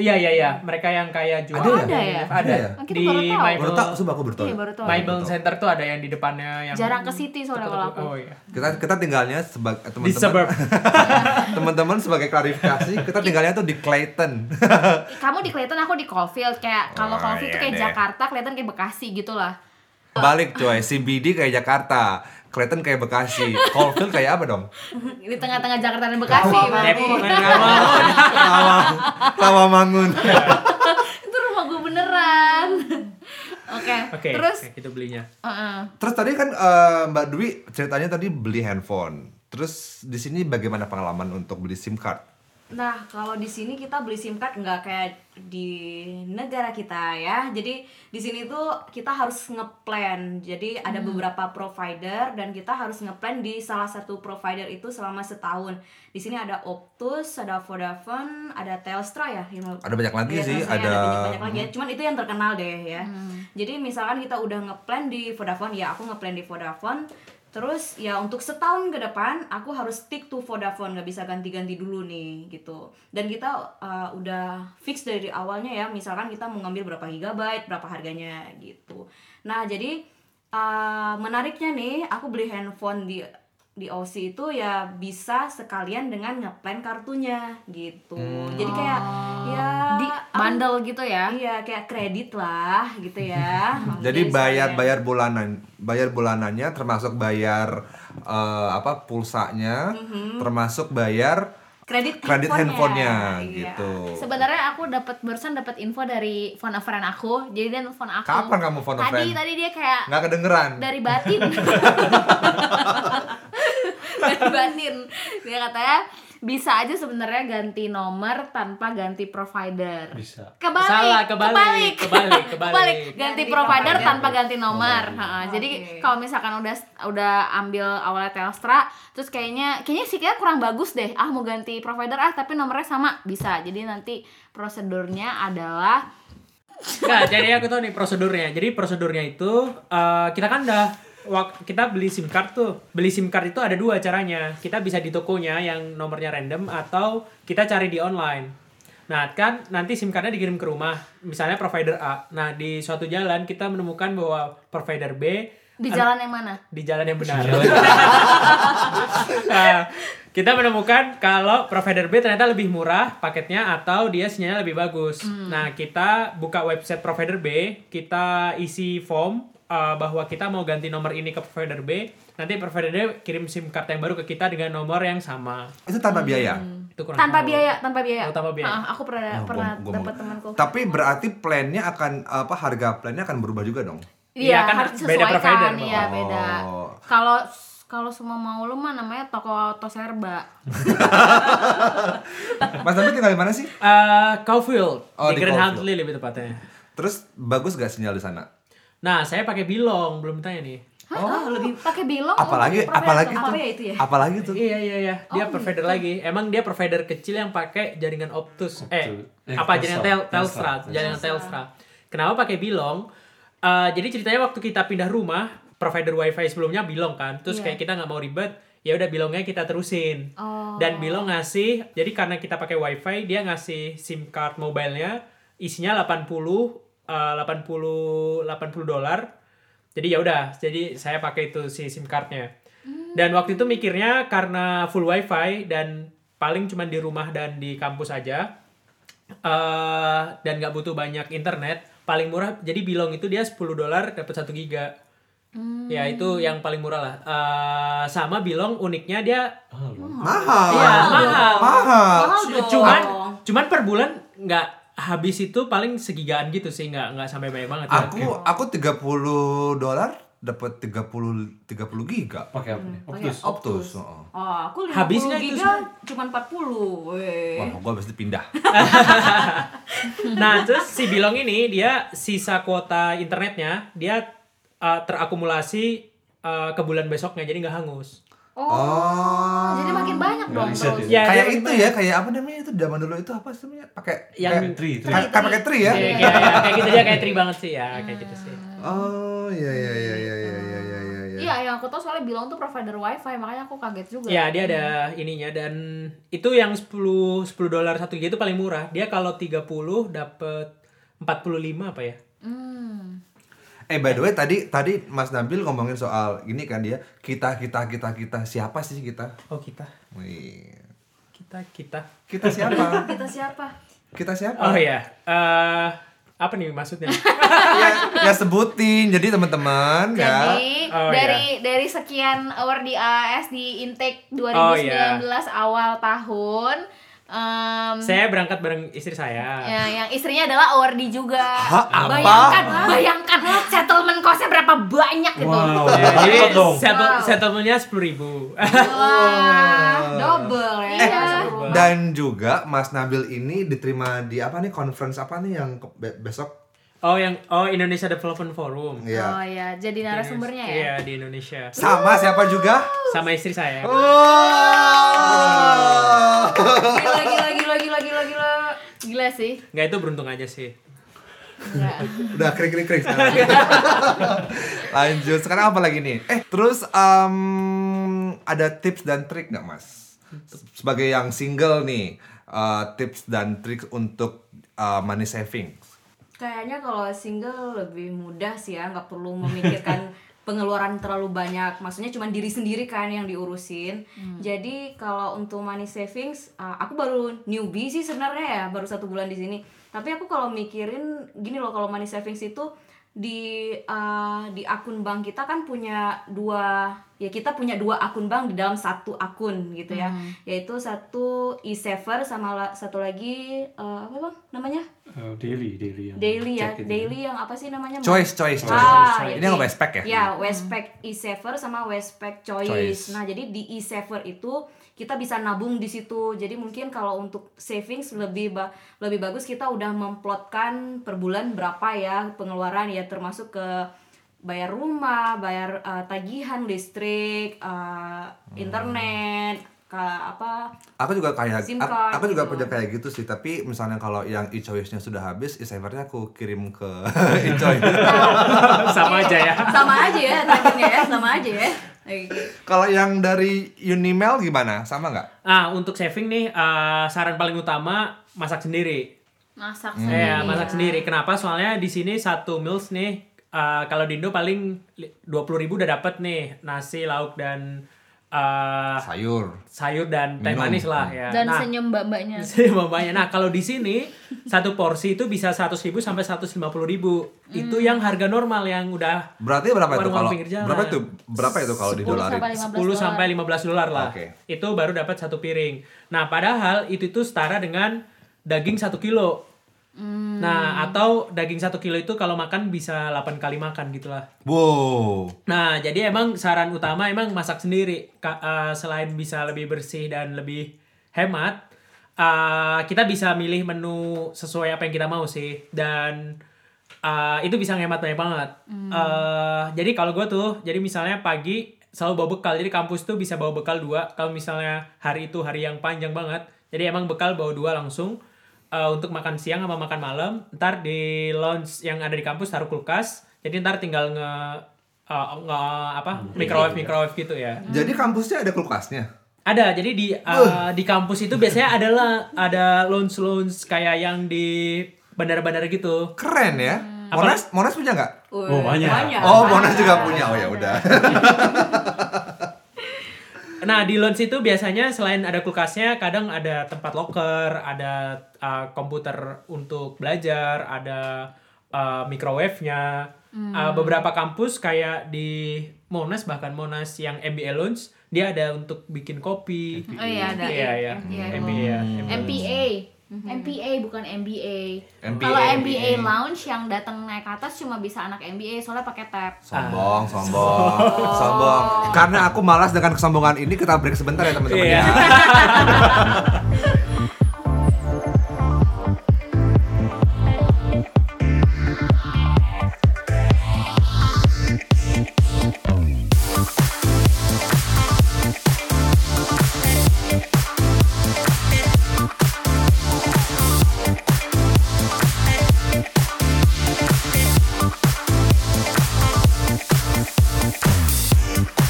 C: Iya iya iya, mereka yang kayak jual.
A: Oh, ada ya?
C: Ada.
B: ya?
A: Oh, kita
C: Di
A: baru tahu.
C: Mybel-
B: Baru tahu, sumpah aku baru tahu.
A: Iya, baru tahu.
C: Bible Center tuh ada yang di depannya yang
A: Jarang ke city soalnya kalau aku.
C: Iya. Oh iya.
B: Kita kita tinggalnya sebagai
C: Di suburb.
B: teman-teman teman-teman sebagai klarifikasi, kita tinggalnya tuh di Clayton.
A: Kamu di Clayton, aku di Caulfield. Kayak kalau
B: Oh,
A: Caulfield tuh
B: iya
A: kayak
B: deh.
A: Jakarta, Clayton kayak Bekasi gitu lah.
B: Balik coy, CBD kayak Jakarta, Clayton kayak Bekasi, Caulfield kayak apa dong?
A: Di tengah-tengah Jakarta dan Bekasi.
C: Tapi
A: berarti.
B: Tawamangun.
A: itu rumah gue beneran. Oke.
C: Oke,
A: Terus
C: oke, itu belinya.
A: uh-uh.
B: Terus tadi kan eh, Mbak Dwi ceritanya tadi beli handphone. Terus di sini bagaimana pengalaman untuk beli SIM card?
E: Nah, kalau di sini kita beli SIM card nggak kayak di negara kita ya. Jadi di sini tuh kita harus ngeplan. Jadi ada beberapa provider dan kita harus ngeplan di salah satu provider itu selama setahun. Di sini ada Optus, ada Vodafone, ada Telstra ya. Yang-
B: Ada banyak lagi
E: Iya,
B: sih,
E: Telstra ya,
B: ada-
E: banyak-banyak lagi ya. Cuman itu yang terkenal deh ya. Jadi misalkan kita udah ngeplan di Vodafone, ya aku ngeplan di Vodafone. Terus ya untuk setahun ke depan aku harus stick to Vodafone nggak bisa ganti-ganti dulu nih gitu. Dan kita uh, udah fix dari awalnya ya misalkan kita mau ngambil berapa gigabyte berapa harganya gitu. Nah jadi uh, menariknya nih aku beli handphone di di OC itu ya bisa sekalian dengan ngeplan kartunya gitu. Jadi kayak ya
A: di bandel gitu ya.
E: Iya kayak kredit lah gitu ya.
B: Jadi
E: Mungkin
B: bayar
E: sekalian.
B: bayar bulanan, bayar bulanannya termasuk bayar eh, apa pulsanya termasuk bayar
E: Kredit
B: kredit
E: handphonenya.
B: handphonenya
E: Iya.
B: gitu.
A: Sebenarnya aku dapat barusan dapat info dari phone a friend aku. Jadi dia nelfon aku.
B: Kapan kamu phone a
A: tadi,
B: friend?
A: Tadi dia kayak
B: nggak kedengeran.
A: dari batin. dari batin. Dia katanya bisa aja sebenarnya ganti nomor tanpa ganti provider.
D: Bisa.
A: Kebalik,
C: Salah, kebalik,
A: kebalik,
C: kebalik, kebalik.
A: Ganti
E: Ganti
A: provider
E: provider.
A: tanpa ganti nomor. Ha, Jadi
E: Oke.
A: kalau misalkan udah udah ambil awalnya Telstra, terus kayaknya kayaknya sih kayak kurang bagus deh. Ah mau ganti provider ah tapi nomornya sama bisa. Jadi nanti prosedurnya adalah
C: Nah, jadi aku tahu nih prosedurnya. Jadi prosedurnya itu eh, kita kan udah wak- kita beli SIM card tuh. Beli SIM card itu ada dua caranya. Kita bisa di tokonya yang nomornya random atau kita cari di online. Nah, kan nanti SIM cardnya dikirim ke rumah, misalnya provider A. Nah, di suatu jalan kita menemukan bahwa provider B
A: di jalan yang mana?
C: di jalan yang benar. Nah, kita menemukan kalau provider B ternyata lebih murah paketnya atau dia sinyalnya lebih bagus. Nah, kita buka website provider B, kita isi form uh, bahwa kita mau ganti nomor ini ke provider B. Nanti provider B kirim SIM card yang baru ke kita dengan nomor yang sama.
B: Itu tanpa biaya.
C: Itu kurang
A: Tanpa
C: tahu.
A: biaya, tanpa biaya.
C: Oh, tanpa biaya.
A: Ah, aku pernah
B: Oh,
A: pernah
B: gua- gua
A: dapat
B: mau-
A: temanku.
B: Tapi berarti plannya akan apa harga plannya akan berubah juga dong.
A: Iya,
C: Iya, kan
A: harus
C: beda
A: disesuaikan,
C: provider,
A: Iya,
B: Bang.
A: beda.
B: Oh.
A: Kalau kalau semua mau lu mah namanya toko auto serba.
B: Mas David tinggal di mana sih?
C: Eh, Caulfield,
B: Oh, di
C: di, Grand
B: Caulfield.
C: Huntley lebih tepatnya.
B: Terus bagus gak sinyal di sana?
C: Nah, saya pakai bilong, belum tanya nih.
A: Hah? Ah, lebih pakai bilong.
B: Oh, Apalagi
A: untuk provider.
B: apalagi
E: apa ya itu ya?
B: Apalagi tuh.
C: Iya iya iya, dia
A: Oh,
C: provider
A: gitu.
C: lagi. Emang dia provider kecil yang pakai jaringan Optus. Eh,
D: Eh,
C: apa jaringan tel
D: Telstra.
C: Telstra, jaringan Telstra. Kenapa pakai Bilong? Eh, jadi ceritanya waktu kita pindah rumah, provider WiFi sebelumnya Bilong kan. Terus
A: Iya.
C: kayak kita nggak mau ribet, ya udah Bilongnya kita terusin.
A: Oh.
C: Dan Bilong ngasih, jadi karena kita pakai WiFi, dia ngasih SIM card mobile-nya isinya 80 eh, 80 80 dolar. Jadi ya udah, jadi saya pakai itu si SIM cardnya. Dan waktu itu mikirnya karena full wifi dan paling cuma di rumah dan di kampus aja, eh dan nggak butuh banyak internet, paling murah. Jadi bilong itu dia 10 dolar dapat 1 giga. Ya itu yang paling murah lah. Eh, sama bilong uniknya dia
D: Ah, lu.
E: Hmm.
B: Mahal.
C: Iya, mahal.
B: Mahal.
E: Mahal
C: cu-
E: dong.
C: cuman cuman per bulan nggak habis itu paling segigaan gitu sih nggak nggak sampai banyak banget. ya.
B: Aku aku 30 dolar dapat 30 30 giga.
D: Pakai apa nih?
E: Pakai
D: Optus.
B: Optus. heeh.
E: Oh, aku 50
C: Habis nggak itu
E: giga cuman 40. Weh.
B: Wah, gua habis itu pindah.
C: Nah, terus si Bilong ini dia sisa kuota internetnya dia uh, terakumulasi uh, ke bulan besoknya jadi nggak hangus.
A: Oh.
B: Oh.
A: Jadi makin banyak
D: Nggak
A: dong
D: riset
A: terus.
C: Ya,
B: kayak
C: dia-
B: itu ya, kayak apa namanya itu zaman dulu itu apa sih namanya? Pakai
C: Yang-
B: kayak-
D: Tri, tri.
B: kayak kayak pakai tri ya.
C: Kayak, kayak, ya, kayak gitu ya kayak tri banget sih ya kayak gitu sih.
B: Oh, iya iya iya iya iya iya iya iya. iya.
A: Iya, yang aku tahu soalnya Bilong tuh provider wifi, makanya aku kaget juga.
C: Ya dia ada ininya dan itu yang 10 10 dolar satu giga itu paling murah. Dia kalau 30 dapat 45 apa ya?
A: Hmm.
B: Eh by the way tadi tadi Mas Nabil ngomongin soal ini kan dia kita kita kita kita siapa sih kita?
C: Oh kita
B: Wih.
C: kita kita.
B: Kita siapa?
E: Kita siapa?
B: kita siapa?
C: Oh ya. Eh apa nih maksudnya?
B: ya, ya sebutin. Jadi teman-teman ya.
A: Jadi
C: Oh,
A: dari dari sekian award di AS di intake 2019
C: Oh, iya.
A: awal tahun em,
C: saya berangkat bareng istri saya.
A: Ya, yang istrinya adalah awardi juga.
B: Hah, apa?
A: Bayangkan, bayangkan settlement cost-nya berapa banyak gitu.
C: Ya,
D: Wow.
C: jadi
D: Dapat iya, dong.
C: settle,
A: Wow.
C: settlementnya sepuluh ribu.
E: Wah, Ah, double ya.
A: Eh,
E: Seru.
B: Dan juga Mas Nabil ini diterima di apa nih conference apa nih yang ke- be- besok?
C: oh yang oh Indonesia Development Forum.
A: Oh
B: Ya.
A: iya, jadi narasumbernya ya.
C: Iya di Indonesia.
B: Sama siapa juga?
C: Sama istri saya.
B: Oh.
E: Gila gila gila gila gila gila.
A: Gila sih.
C: Nggak itu beruntung aja sih.
A: Enggak.
B: Udah krik krik krik. sekarang. Lanjut sekarang apa lagi nih? Eh terus em, ada tips dan trik nggak mas? Sebagai yang single nih eh, tips dan trik untuk eh, money saving.
E: Kayaknya kalau single lebih mudah sih ya, nggak perlu memikirkan pengeluaran terlalu banyak. Maksudnya cuma diri sendiri kan yang diurusin. Jadi kalau untuk money savings, uh, aku baru newbie sih sebenarnya ya, baru satu bulan di sini. Tapi aku kalau mikirin gini loh, kalau money savings itu di eh, di akun bank kita kan punya dua ya kita punya dua akun bank di dalam satu akun gitu ya yaitu satu e-saver sama la- satu lagi eh, apa bang namanya
D: Eh, daily, daily yang
E: daily ya
D: cek itu.
E: daily yang apa sih namanya Bang?
B: Choice, choice, choice.
E: Ah,
B: Ini
E: iya.
B: yang Westpac ya?
E: Ya, Westpac e-saver sama Westpac choice.
B: Choice.
E: Nah, jadi di e-saver itu kita bisa nabung di situ. Jadi mungkin kalau untuk savings lebih ba- lebih bagus kita udah memplotkan per bulan berapa ya pengeluaran ya termasuk ke bayar rumah, bayar eh, tagihan listrik,
B: Hmm.
E: eh, internet, ke apa?
B: Aku juga kayak
E: SIM
B: aku-
E: card
B: aku juga
E: gitu.
B: punya kayak gitu sih, tapi misalnya kalau yang e-choice-nya sudah habis, e-savernya aku kirim ke e-choice.
C: sama aja ya
E: Sama aja ya tagihnya ya, sama aja ya. Oke.
B: kalau yang dari Unimel gimana? Sama nggak?
C: ah untuk saving nih eh, saran paling utama masak sendiri
A: masak
B: Iya,
C: ya
A: sendiri
C: masak sendiri kenapa soalnya di sini satu meals nih eh, kalau di Indo paling dua puluh ribu udah dapet nih nasi lauk dan eh,
B: Sayur.
C: sayur dan teh
B: Minum.
C: manis lah ya
A: dan
C: nah,
A: senyum mbak mbaknya
C: Saya mau banyak. Nah, kalau di sini satu porsi itu bisa 100.000 sampai 150.000. Itu
A: Hmm.
C: yang harga normal yang udah
B: Berarti berapa itu
C: Warung-warung
B: kalau
C: pinggir jalan.
B: berapa itu berapa itu kalau didolarin?
A: 10
C: 10 sampai 15 dolar lah.
B: Oke.
C: Itu baru dapat satu piring. Nah, padahal itu itu setara dengan daging 1 kilo.
A: Hmm.
C: Nah, atau daging 1 kilo itu kalau makan bisa 8 kali makan gitu gitulah.
B: Wow.
C: Nah, jadi emang saran utama emang masak sendiri. Ka- eh, selain bisa lebih bersih dan lebih hemat, eh, kita bisa milih menu sesuai apa yang kita mau sih. Dan eh, itu bisa ngehemat banyak banget. Eh, jadi kalau gue tuh, jadi misalnya pagi selalu bawa bekal. Jadi kampus tuh bisa bawa bekal dua. Kalau misalnya hari itu hari yang panjang banget, jadi emang bekal bawa dua langsung. Eh, untuk makan siang sama makan malam. Ntar di lounge yang ada di kampus taruh kulkas. Jadi ntar tinggal nge eh, nge- apa microwave microwave gitu ya.
B: Jadi kampusnya ada kulkasnya.
C: Ada jadi di eh, di kampus itu biasanya adalah ada lounge lounge kayak yang di bandara-bandara gitu.
B: Keren ya. Monas Monas punya nggak?
D: Oh, banyak.
B: Oh, Monas juga punya. Oh ya udah.
C: Nah di lounge itu biasanya selain ada kulkasnya kadang ada tempat locker, ada uh, komputer untuk belajar, ada uh, microwave-nya.
A: Hmm.
C: Uh, beberapa kampus kayak di Monas bahkan Monas yang MBA lounge dia ada untuk bikin kopi.
A: oh iya ada
C: Iya iya MBA ya.
A: MPA MPA bukan MBA.
B: MBA.
A: Kalau MBA lounge yang datang naik ke atas cuma bisa anak MBA soalnya pakai tab.
B: Sombong, sombong, sombong. Karena aku malas dengan kesombongan ini, kita break sebentar ya teman-teman
C: Iya.
B: ya.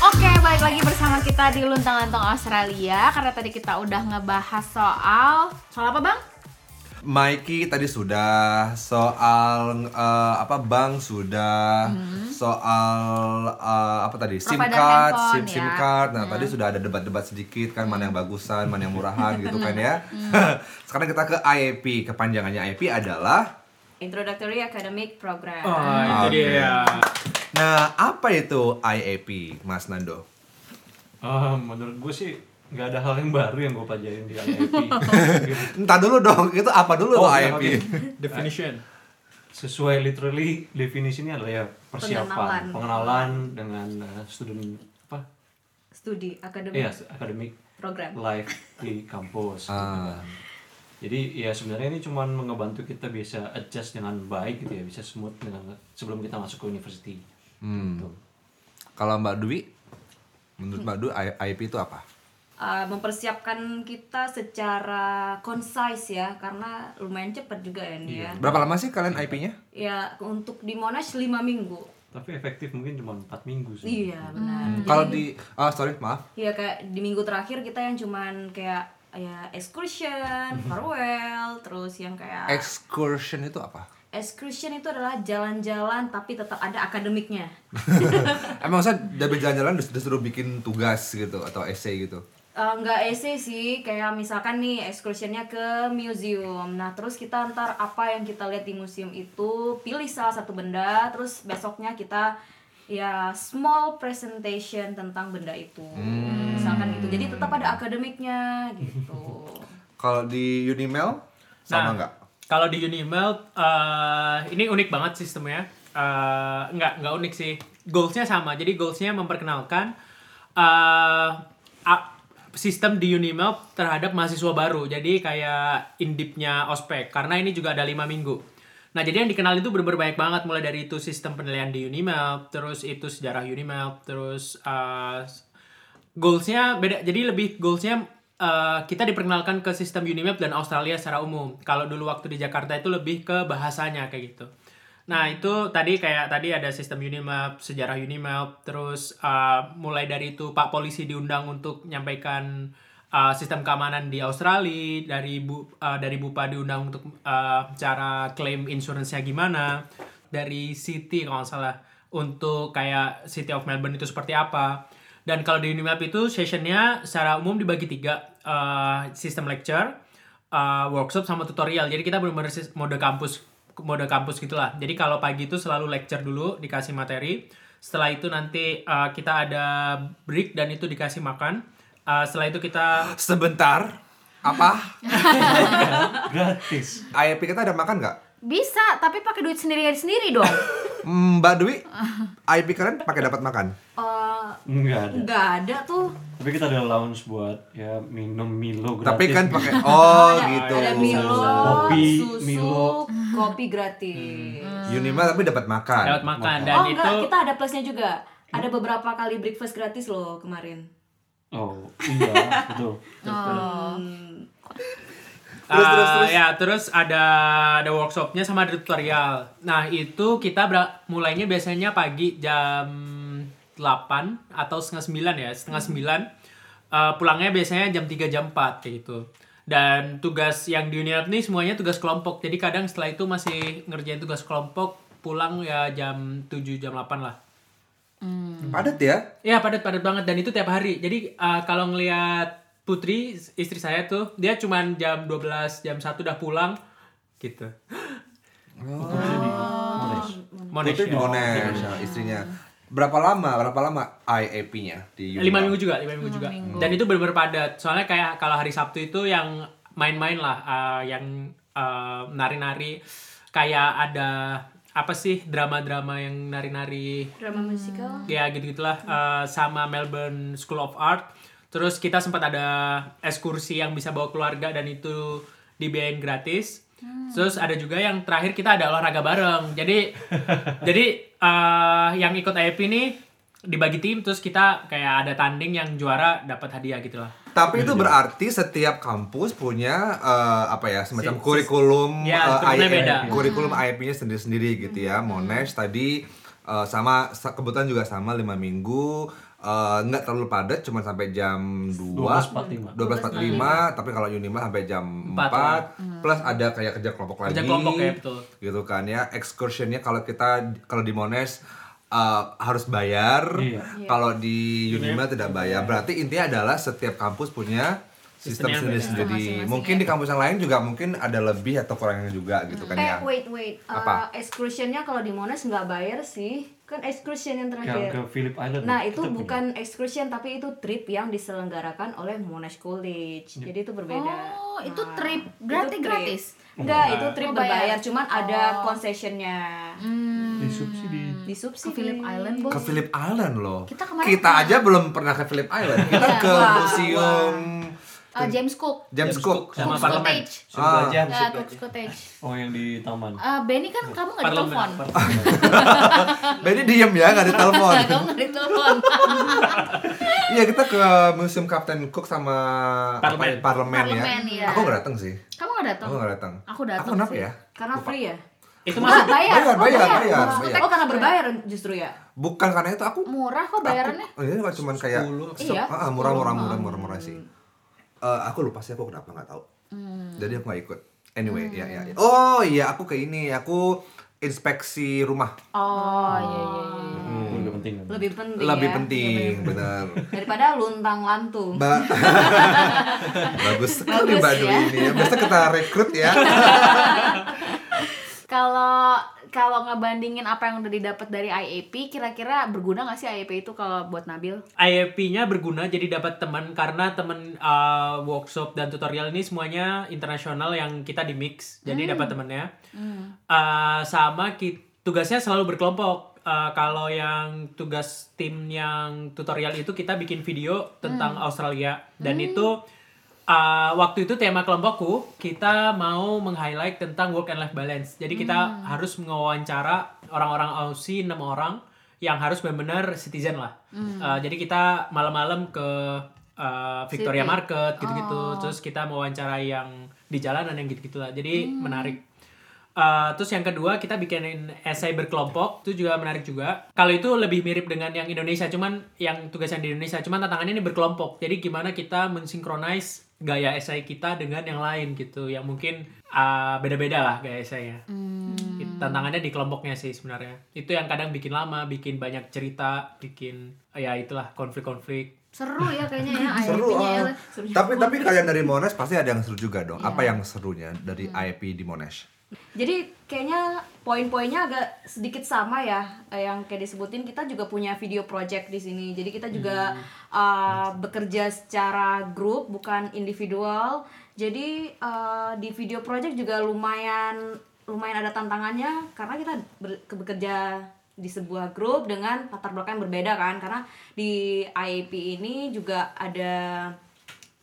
A: Oke, balik lagi bersama kita di Luntang Lantung Australia karena tadi kita udah ngebahas soal soal apa, Bang?
B: Mikey tadi sudah soal eh, apa bank sudah soal eh, apa tadi SIM
A: Hmm. Provider
B: card,
A: handphone,
B: SIM SIM
A: ya.
B: card. Nah, tadi sudah ada debat-debat sedikit kan mana yang bagusan, mana yang murahan gitu kan ya.
A: Hmm.
B: Sekarang kita ke IEP. Kepanjangannya IEP adalah
E: Introductory Academic Program.
C: Oh,
B: Oke.
C: itu dia.
B: Nah, apa itu IEP, Mas Nando?
D: Ah, menurut gue sih nggak ada hal yang baru yang gue pelajarin di IIT. Gitu.
B: Entar dulu dong, itu apa dulu tuh
D: Oh,
B: IEP?
D: iya, oke.
C: Definition.
D: Sesuai literally definisinya adalah ya persiapan,
E: Pengenalan.
D: pengenalan, dengan eh, student apa?
E: Studi akademik
D: Iya, academic
E: program.
D: life di kampus. gitu
B: Ah.
D: kan. Jadi ya sebenarnya ini cuman ngebantu kita bisa adjust dengan baik gitu ya, bisa smooth dengan sebelum kita masuk ke university.
B: Hmm.
D: Gitu.
B: Kalau Mbak Dwi, menurut Mbak Dwi I- IEP itu apa?
E: Uh, mempersiapkan kita secara concise ya karena lumayan cepat juga ya nih ya.
B: Berapa lama sih kalian IEP-nya?
E: Ya untuk di Monash 5 minggu.
D: Tapi efektif mungkin cuma 4 minggu sih.
E: Iya benar.
B: Kalau di ah sorry, maaf.
E: Iya kayak di minggu terakhir kita yang cuman kayak ya excursion, farewell, terus yang kayak
B: Excursion itu apa?
E: excursion itu adalah jalan-jalan tapi tetap ada akademiknya.
B: Emang saya dari jalan-jalan dis- disuruh bikin tugas gitu atau essay gitu.
E: eh, nggak essay sih kayak misalkan nih excursionnya ke museum nah terus kita ntar apa yang kita lihat di museum itu pilih salah satu benda terus besoknya kita ya small presentation tentang benda itu misalkan gitu jadi tetap ada akademiknya gitu
B: Kalau di Unimel sama nggak?
C: Nah, Kalau di Unimel, eh, ini unik banget sistemnya. Eh, nggak nggak unik sih. Goalsnya sama. Jadi goalsnya memperkenalkan eh, a- sistem di Unimel terhadap mahasiswa baru. Jadi kayak indipnya ospek. Karena ini juga ada lima minggu. Nah, jadi yang dikenal itu bener-bener banyak banget. Mulai dari itu sistem penilaian di Unimel, terus itu sejarah Unimel, terus eh, goalsnya beda jadi lebih goalsnya eh, kita diperkenalkan ke sistem Unimap dan Australia secara umum kalau dulu waktu di Jakarta itu lebih ke bahasanya kayak gitu nah itu tadi kayak tadi ada sistem Unimap sejarah Unimap terus eh, mulai dari itu Pak Polisi diundang untuk menyampaikan eh, sistem keamanan di Australia dari bu eh, dari Bupa diundang untuk eh, cara klaim insurance-nya gimana dari City kalau nggak salah untuk kayak City of Melbourne itu seperti apa dan kalau di Unimap itu sessionnya secara umum dibagi tiga eh, sistem lecture, eh, workshop sama tutorial. Jadi kita benar-benar sis- mode kampus mode kampus gitulah. Jadi kalau pagi itu selalu lecture dulu dikasih materi. Setelah itu nanti eh, kita ada break dan itu dikasih makan. Eh, setelah itu kita
B: Sebentar. Apa?
D: gratis
B: IEP kita ada makan nggak?
A: Bisa, tapi pakai duit sendiri sendiri dong.
B: Mm, Mbak Dwi, IEP kalian pakai dapat makan?
E: Eh,
D: nggak ada
E: nggak ada tuh
D: tapi kita ada lounge buat ya minum Milo gratis
B: Tapi kan pakai oh
E: ada,
B: gitu.
E: ada Milo,
D: Kopi,
E: susu,
D: Milo.
E: kopi gratis.
B: Hmm. Unimel tapi dapat makan.
C: dapat makan dan
E: Oh
C: itu
E: enggak, kita ada plusnya juga. Ada beberapa kali breakfast gratis loh kemarin.
D: oh iya betul
E: Hmm,
B: Terus,
C: Ah,
B: terus, terus.
C: ya terus ada ada workshopnya sama ada tutorial. Nah itu kita bera- mulainya biasanya pagi jam 8 atau setengah 9 ya setengah
B: Hmm.
C: 9 Eh, pulangnya biasanya jam 3 jam 4 kayak gitu. Dan tugas yang di Unilab nih semuanya tugas kelompok. Jadi kadang setelah itu masih ngerjain tugas kelompok pulang ya jam 7 jam 8 lah.
B: Padat ya?
C: Ya padat-padat banget dan itu tiap hari. Jadi uh, kalau ngelihat Putri istri saya tuh dia cuman jam 12 jam 1 udah pulang gitu. Oh. Monash.
B: Putri di
C: ya.
B: Monash, ya, istrinya. Berapa lama? Berapa lama IEP-nya di
C: Lima
B: Unimel?
C: minggu juga, lima minggu juga. Dan itu benar-benar padat. Soalnya kayak kalau hari Sabtu itu yang main-main lah, uh, yang uh, nari-nari kayak ada apa sih drama-drama yang nari-nari
E: drama musikal.
C: ya gitu gitulah eh, sama Melbourne School of Art terus kita sempat ada ekskursi yang bisa bawa keluarga dan itu dibiayain gratis terus ada juga yang terakhir kita ada olahraga bareng jadi jadi eh, yang ikut IEP ini dibagi tim terus kita kayak ada tanding yang juara dapat hadiah gitulah
B: Tapi
C: Iya,
B: itu berarti setiap kampus punya eh, apa ya semacam
C: Sis-
B: kurikulum eh,
C: Ya, kurikulumnya
B: IEP
C: beda. Hmm.
B: kurikulum IEP-nya sendiri-sendiri gitu ya. Monash tadi eh, sama sa- kebetulan juga sama lima minggu eh, nggak terlalu padat cuma sampai jam 2
D: 12.45.
B: 12.45 tapi kalau Unima sampai jam 4,
C: Empat lah.
B: plus ada kayak kerja kelompok lagi
C: Kerja kelompok ya, betul.
B: gitu kan ya excursionnya kalau kita kalau di Monash eh, harus bayar
D: Iya.
B: kalau di Unima tidak bayar berarti intinya adalah setiap kampus punya sistem
C: Sistemnya
B: sendiri
A: Iya.
B: sendiri
A: ya.
B: mungkin di kampus yang lain juga mungkin ada lebih atau kurangnya juga gitu kan
E: Eh
B: ya
E: wait wait. Eh,
B: Apa?
E: excursionnya kalau di Monash nggak bayar sih. Kan excursion yang
D: yang
E: terakhir.
D: ke Philip Island
E: Nah, itu
D: kita punya.
E: bukan excursion tapi itu trip yang diselenggarakan oleh Monash
D: Iya.
E: College. Jadi itu berbeda. Nah,
A: Oh, itu trip. Berarti
E: trip.
A: gratis?
E: Enggak, itu trip
A: Oh, bayar. Oh.
E: berbayar,
A: Hmm.
E: cuman ada concessionnya.
D: disubsidi
E: Disubsidi.
A: Ke Phillip Island, Bos.
B: ke Philip Island loh
A: Kita kemarin pernah. Iya.
B: aja belum pernah ke Philip Island kita ke
E: Wah,
B: museum
A: Eh, James Cook. ya.
B: James Cook
C: sama
A: Cook's
C: parlemen.
A: Cottage.
D: Suruh
B: Ah.
A: Ya,
D: belajar, suruh
A: Cook's
D: belajar.
A: Cottage.
D: oh yang di taman
E: Ah.
A: Eh, Benny kan kamu nggak
C: Parlemen.
A: ditelepon.
B: Benny diem ya nggak ada telepon
A: Kamu nggak ditelepon.
B: iya kita ke museum Captain Cook sama
C: Parlemen.
B: apa, parlemen,
A: Parlemen,
B: ya
A: iya.
B: aku nggak datang sih
A: Kamu nggak datang.
B: aku nggak datang
A: Aku datang
B: aku kenapa
A: sih.
B: ya
E: Karena free ya?
C: itu
E: Ah,
C: masuk
E: bayar.
B: Bayar,
E: Oh,
B: bayar, bayar,
A: Iya.
B: bayar.
E: Oh, karena berbayar justru ya?
B: bukan karena itu aku
A: Murah kok bayarannya.
B: Aku, iya, cuman kayak
E: Iya.
B: Ah, ah, murah, murah, murah, murah, murah sih. Eh, aku lupa sih aku kenapa nggak tahu. Jadi aku nggak ikut. Anyway, ya, ya, ya. Oh iya, aku ke ini, aku inspeksi rumah.
A: Oh, iya iya.
D: Hmm, udah penting penting.
E: lebih penting
B: lebih
E: ya.
B: penting benar
E: daripada luntang lantung
B: mbak bagus sekali
E: Bagus,
B: mbak
E: ya.
B: Dwi ini ya besok kita rekrut ya
A: Kalau kalau ngebandingin apa yang udah didapat dari IAP, kira-kira berguna nggak sih IAP itu kalau buat Nabil?
C: IAP-nya berguna jadi dapat teman karena teman uh, workshop dan tutorial ini semuanya internasional yang kita di mix jadi dapat temannya Uh, sama ki- tugasnya selalu berkelompok Uh, kalau yang tugas tim yang tutorial itu kita bikin video tentang Australia dan itu uh, waktu itu tema kelompokku kita mau meng-highlight tentang work and life balance jadi kita harus mewawancara orang-orang Aussie enam orang yang harus benar-benar citizen lah. Uh, jadi kita malam-malam ke uh, Victoria
A: City.
C: Market gitu-gitu, terus kita mewawancarai yang di jalanan yang gitu-gitu lah. Jadi menarik. Uh, terus yang kedua kita bikinin esai berkelompok itu juga menarik juga. Kalau itu lebih mirip dengan yang Indonesia, cuman yang tugasnya di Indonesia, cuman tantangannya ini berkelompok. Jadi gimana kita mensinkronize gaya esai kita dengan yang lain gitu, yang mungkin uh, beda-beda lah gaya esainya. It- tantangannya di kelompoknya sih sebenarnya itu yang kadang bikin lama bikin banyak cerita bikin ya itulah konflik-konflik
A: Seru ya kayaknya ya
B: seru
A: IAP-nya ya.
B: ah. tapi tapi kalian dari Monash pasti ada yang seru juga dong apa yang serunya dari IAP di Monash
E: Jadi kayaknya poin-poinnya agak sedikit sama ya eh, yang kayak disebutin kita juga punya video project di sini. Jadi kita juga uh, bekerja secara grup bukan individual. Jadi uh, di video project juga lumayan lumayan ada tantangannya karena kita ber- ke- bekerja di sebuah grup dengan latar belakang yang berbeda kan karena di IAP ini juga ada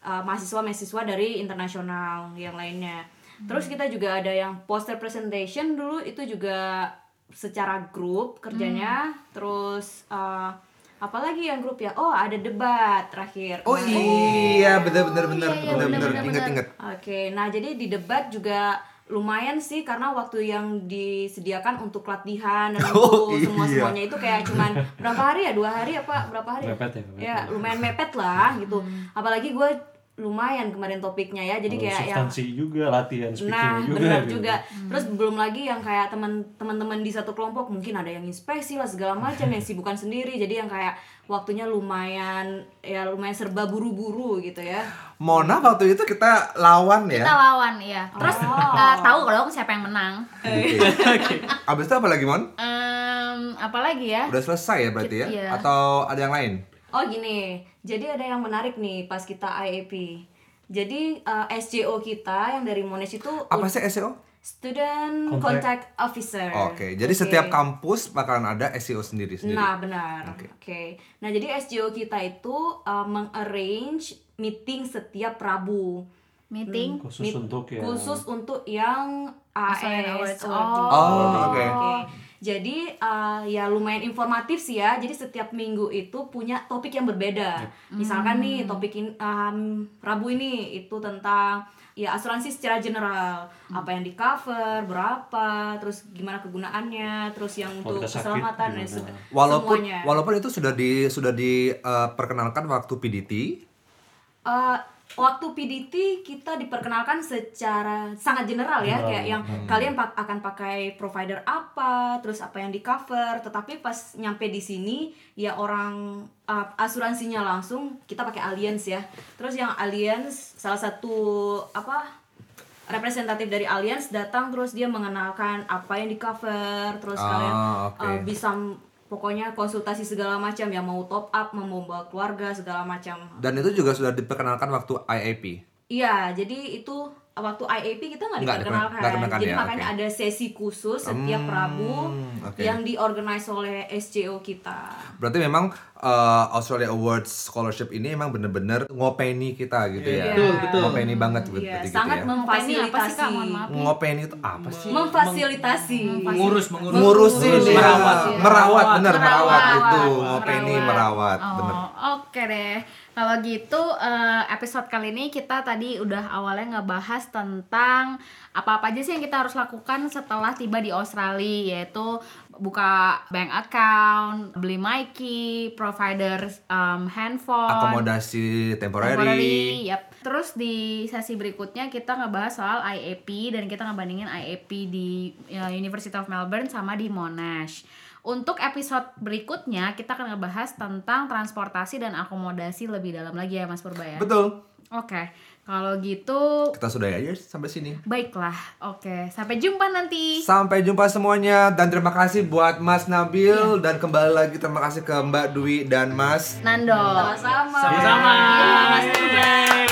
E: uh, mahasiswa-mahasiswa dari internasional yang lainnya. Terus kita juga ada yang poster presentation dulu itu juga secara grup kerjanya. Terus uh, apalagi yang grup ya? Oh, ada debat terakhir.
B: oh
E: Nah,
B: iya bener bener bener
A: iya, iya,
B: bener
A: bener,
B: bener
A: bener,
B: inget
A: bener.
B: inget
E: Oke, nah jadi di debat juga lumayan sih karena waktu yang disediakan untuk latihan dan
B: Oh,
E: untuk semua
B: iya.
E: semuanya itu kayak cuman berapa hari ya dua hari apa berapa hari
D: Mepet ya, mepet.
E: ya lumayan mepet lah gitu apalagi gue lumayan kemarin topiknya ya jadi
D: Lalu
E: kayak yang
D: Oh, substansi juga latihan speaking
E: nah
D: juga.
E: benar
D: gitu.
E: juga terus belum lagi yang kayak teman teman-teman di satu kelompok mungkin ada yang inspeksi lah segala macam yang sibukan sendiri jadi yang kayak waktunya lumayan ya lumayan serba buru-buru gitu ya
B: Mona waktu itu kita lawan ya
A: Kita lawan ya. Terus
E: Oh.
A: eh, tahu kalau siapa yang menang.
B: abis itu apa lagi Mon
A: Em, apalagi ya?
B: udah selesai ya berarti ya
A: Eh, Iya.
B: atau ada yang lain
E: Oh gini, jadi ada yang menarik nih pas kita IAP. Jadi eh, SJO kita yang dari Monash itu
B: apa sih SEO
E: Student Contact,
D: Contact.
E: Officer.
B: Oke, jadi
E: Oke.
B: setiap kampus bakalan ada SEO sendiri sendiri.
E: Nah benar.
B: Oke.
E: Oke. Nah jadi SJO kita itu eh, mengarrange meeting setiap Rabu.
A: Meeting.
D: Khusus
E: Meet-
D: untuk ya.
E: khusus untuk yang
A: Australian Awards.
E: AS
A: Oh.
B: Oh, oke.
E: Jadi eh, ya lumayan informatif sih ya. Jadi setiap minggu itu punya topik yang berbeda. Misalkan nih topik in- em, Rabu ini itu tentang ya asuransi secara general, apa yang di cover, berapa, terus gimana kegunaannya, terus yang
D: Kalau kita
E: untuk
D: sakit,
E: keselamatan dan
D: gimana?
E: se-
B: Walaupun
E: semuanya.
B: walaupun itu sudah di sudah diperkenalkan waktu PDT.
E: Eh, waktu PDT kita diperkenalkan secara sangat general ya kayak yang
B: Hmm.
E: kalian pak- akan pakai provider apa terus apa yang di cover tetapi pas nyampe di sini ya orang eh, asuransinya langsung kita pakai Allianz ya terus yang Allianz salah satu apa representatif dari Allianz datang terus dia mengenalkan apa yang di cover terus
B: Ah,
E: kalian
B: oke.
E: eh, bisa m- pokoknya konsultasi segala macam ya mau top up mau membawa keluarga segala macam
B: Dan itu juga sudah diperkenalkan waktu IAP.
E: Iya, jadi itu waktu IAP kita nggak
B: Nggak diperkenalkan,
E: diperkenalkan.
B: nggak diperkenalkan
E: jadi
B: ya,
E: makanya
B: oke.
E: ada sesi khusus setiap
B: Hmm,
E: Rabu
B: oke.
E: yang diorganize oleh SJO kita.
B: Berarti memang eh, Australia Awards Scholarship ini emang bener-bener ngopeni kita gitu ya.
E: Betul,
B: betul. Ngopeni banget gitu,
E: Iya,
B: berarti gitu
E: sangat
B: ya.
A: Ngopeni apa sih, Kak?
E: memfasilitasi.
A: Mohon maaf.
B: Ngopeni itu apa sih?
E: Memfasilitasi.
C: mengurus mengurus
B: Ngurusin
E: Mengurus,
B: ya.
C: merawat.
B: merawat, merawat bener merawat,
A: Merawat.
B: itu
A: Merawat.
B: ngopeni merawat,
A: Oh,
B: bener.
A: oke deh. Kalau gitu eh, episode kali ini kita tadi udah awalnya ngebahas tentang apa-apa aja sih yang kita harus lakukan setelah tiba di Australia yaitu buka bank account, beli Mikey, provider em, handphone,
B: Akomodasi temporary.
A: Temporary, Iya. yap. Terus di sesi berikutnya kita ngebahas soal IAP dan kita ngebandingin IAP di ya, University of Melbourne sama di Monash. Untuk episode berikutnya kita akan ngebahas tentang transportasi dan akomodasi lebih dalam lagi ya Mas Purba ya.
B: Betul.
A: Oke, kalau gitu
B: Kita sudah aja sampai sini.
A: baiklah. Oke, sampai jumpa nanti.
B: Sampai jumpa semuanya dan terima kasih buat Mas Nabil dan kembali lagi terima kasih ke Mbak Dwi dan Mas
A: Nando.
E: Sama-sama.
C: Sama-sama.
E: Iya, Mas Purba.
C: Yeay.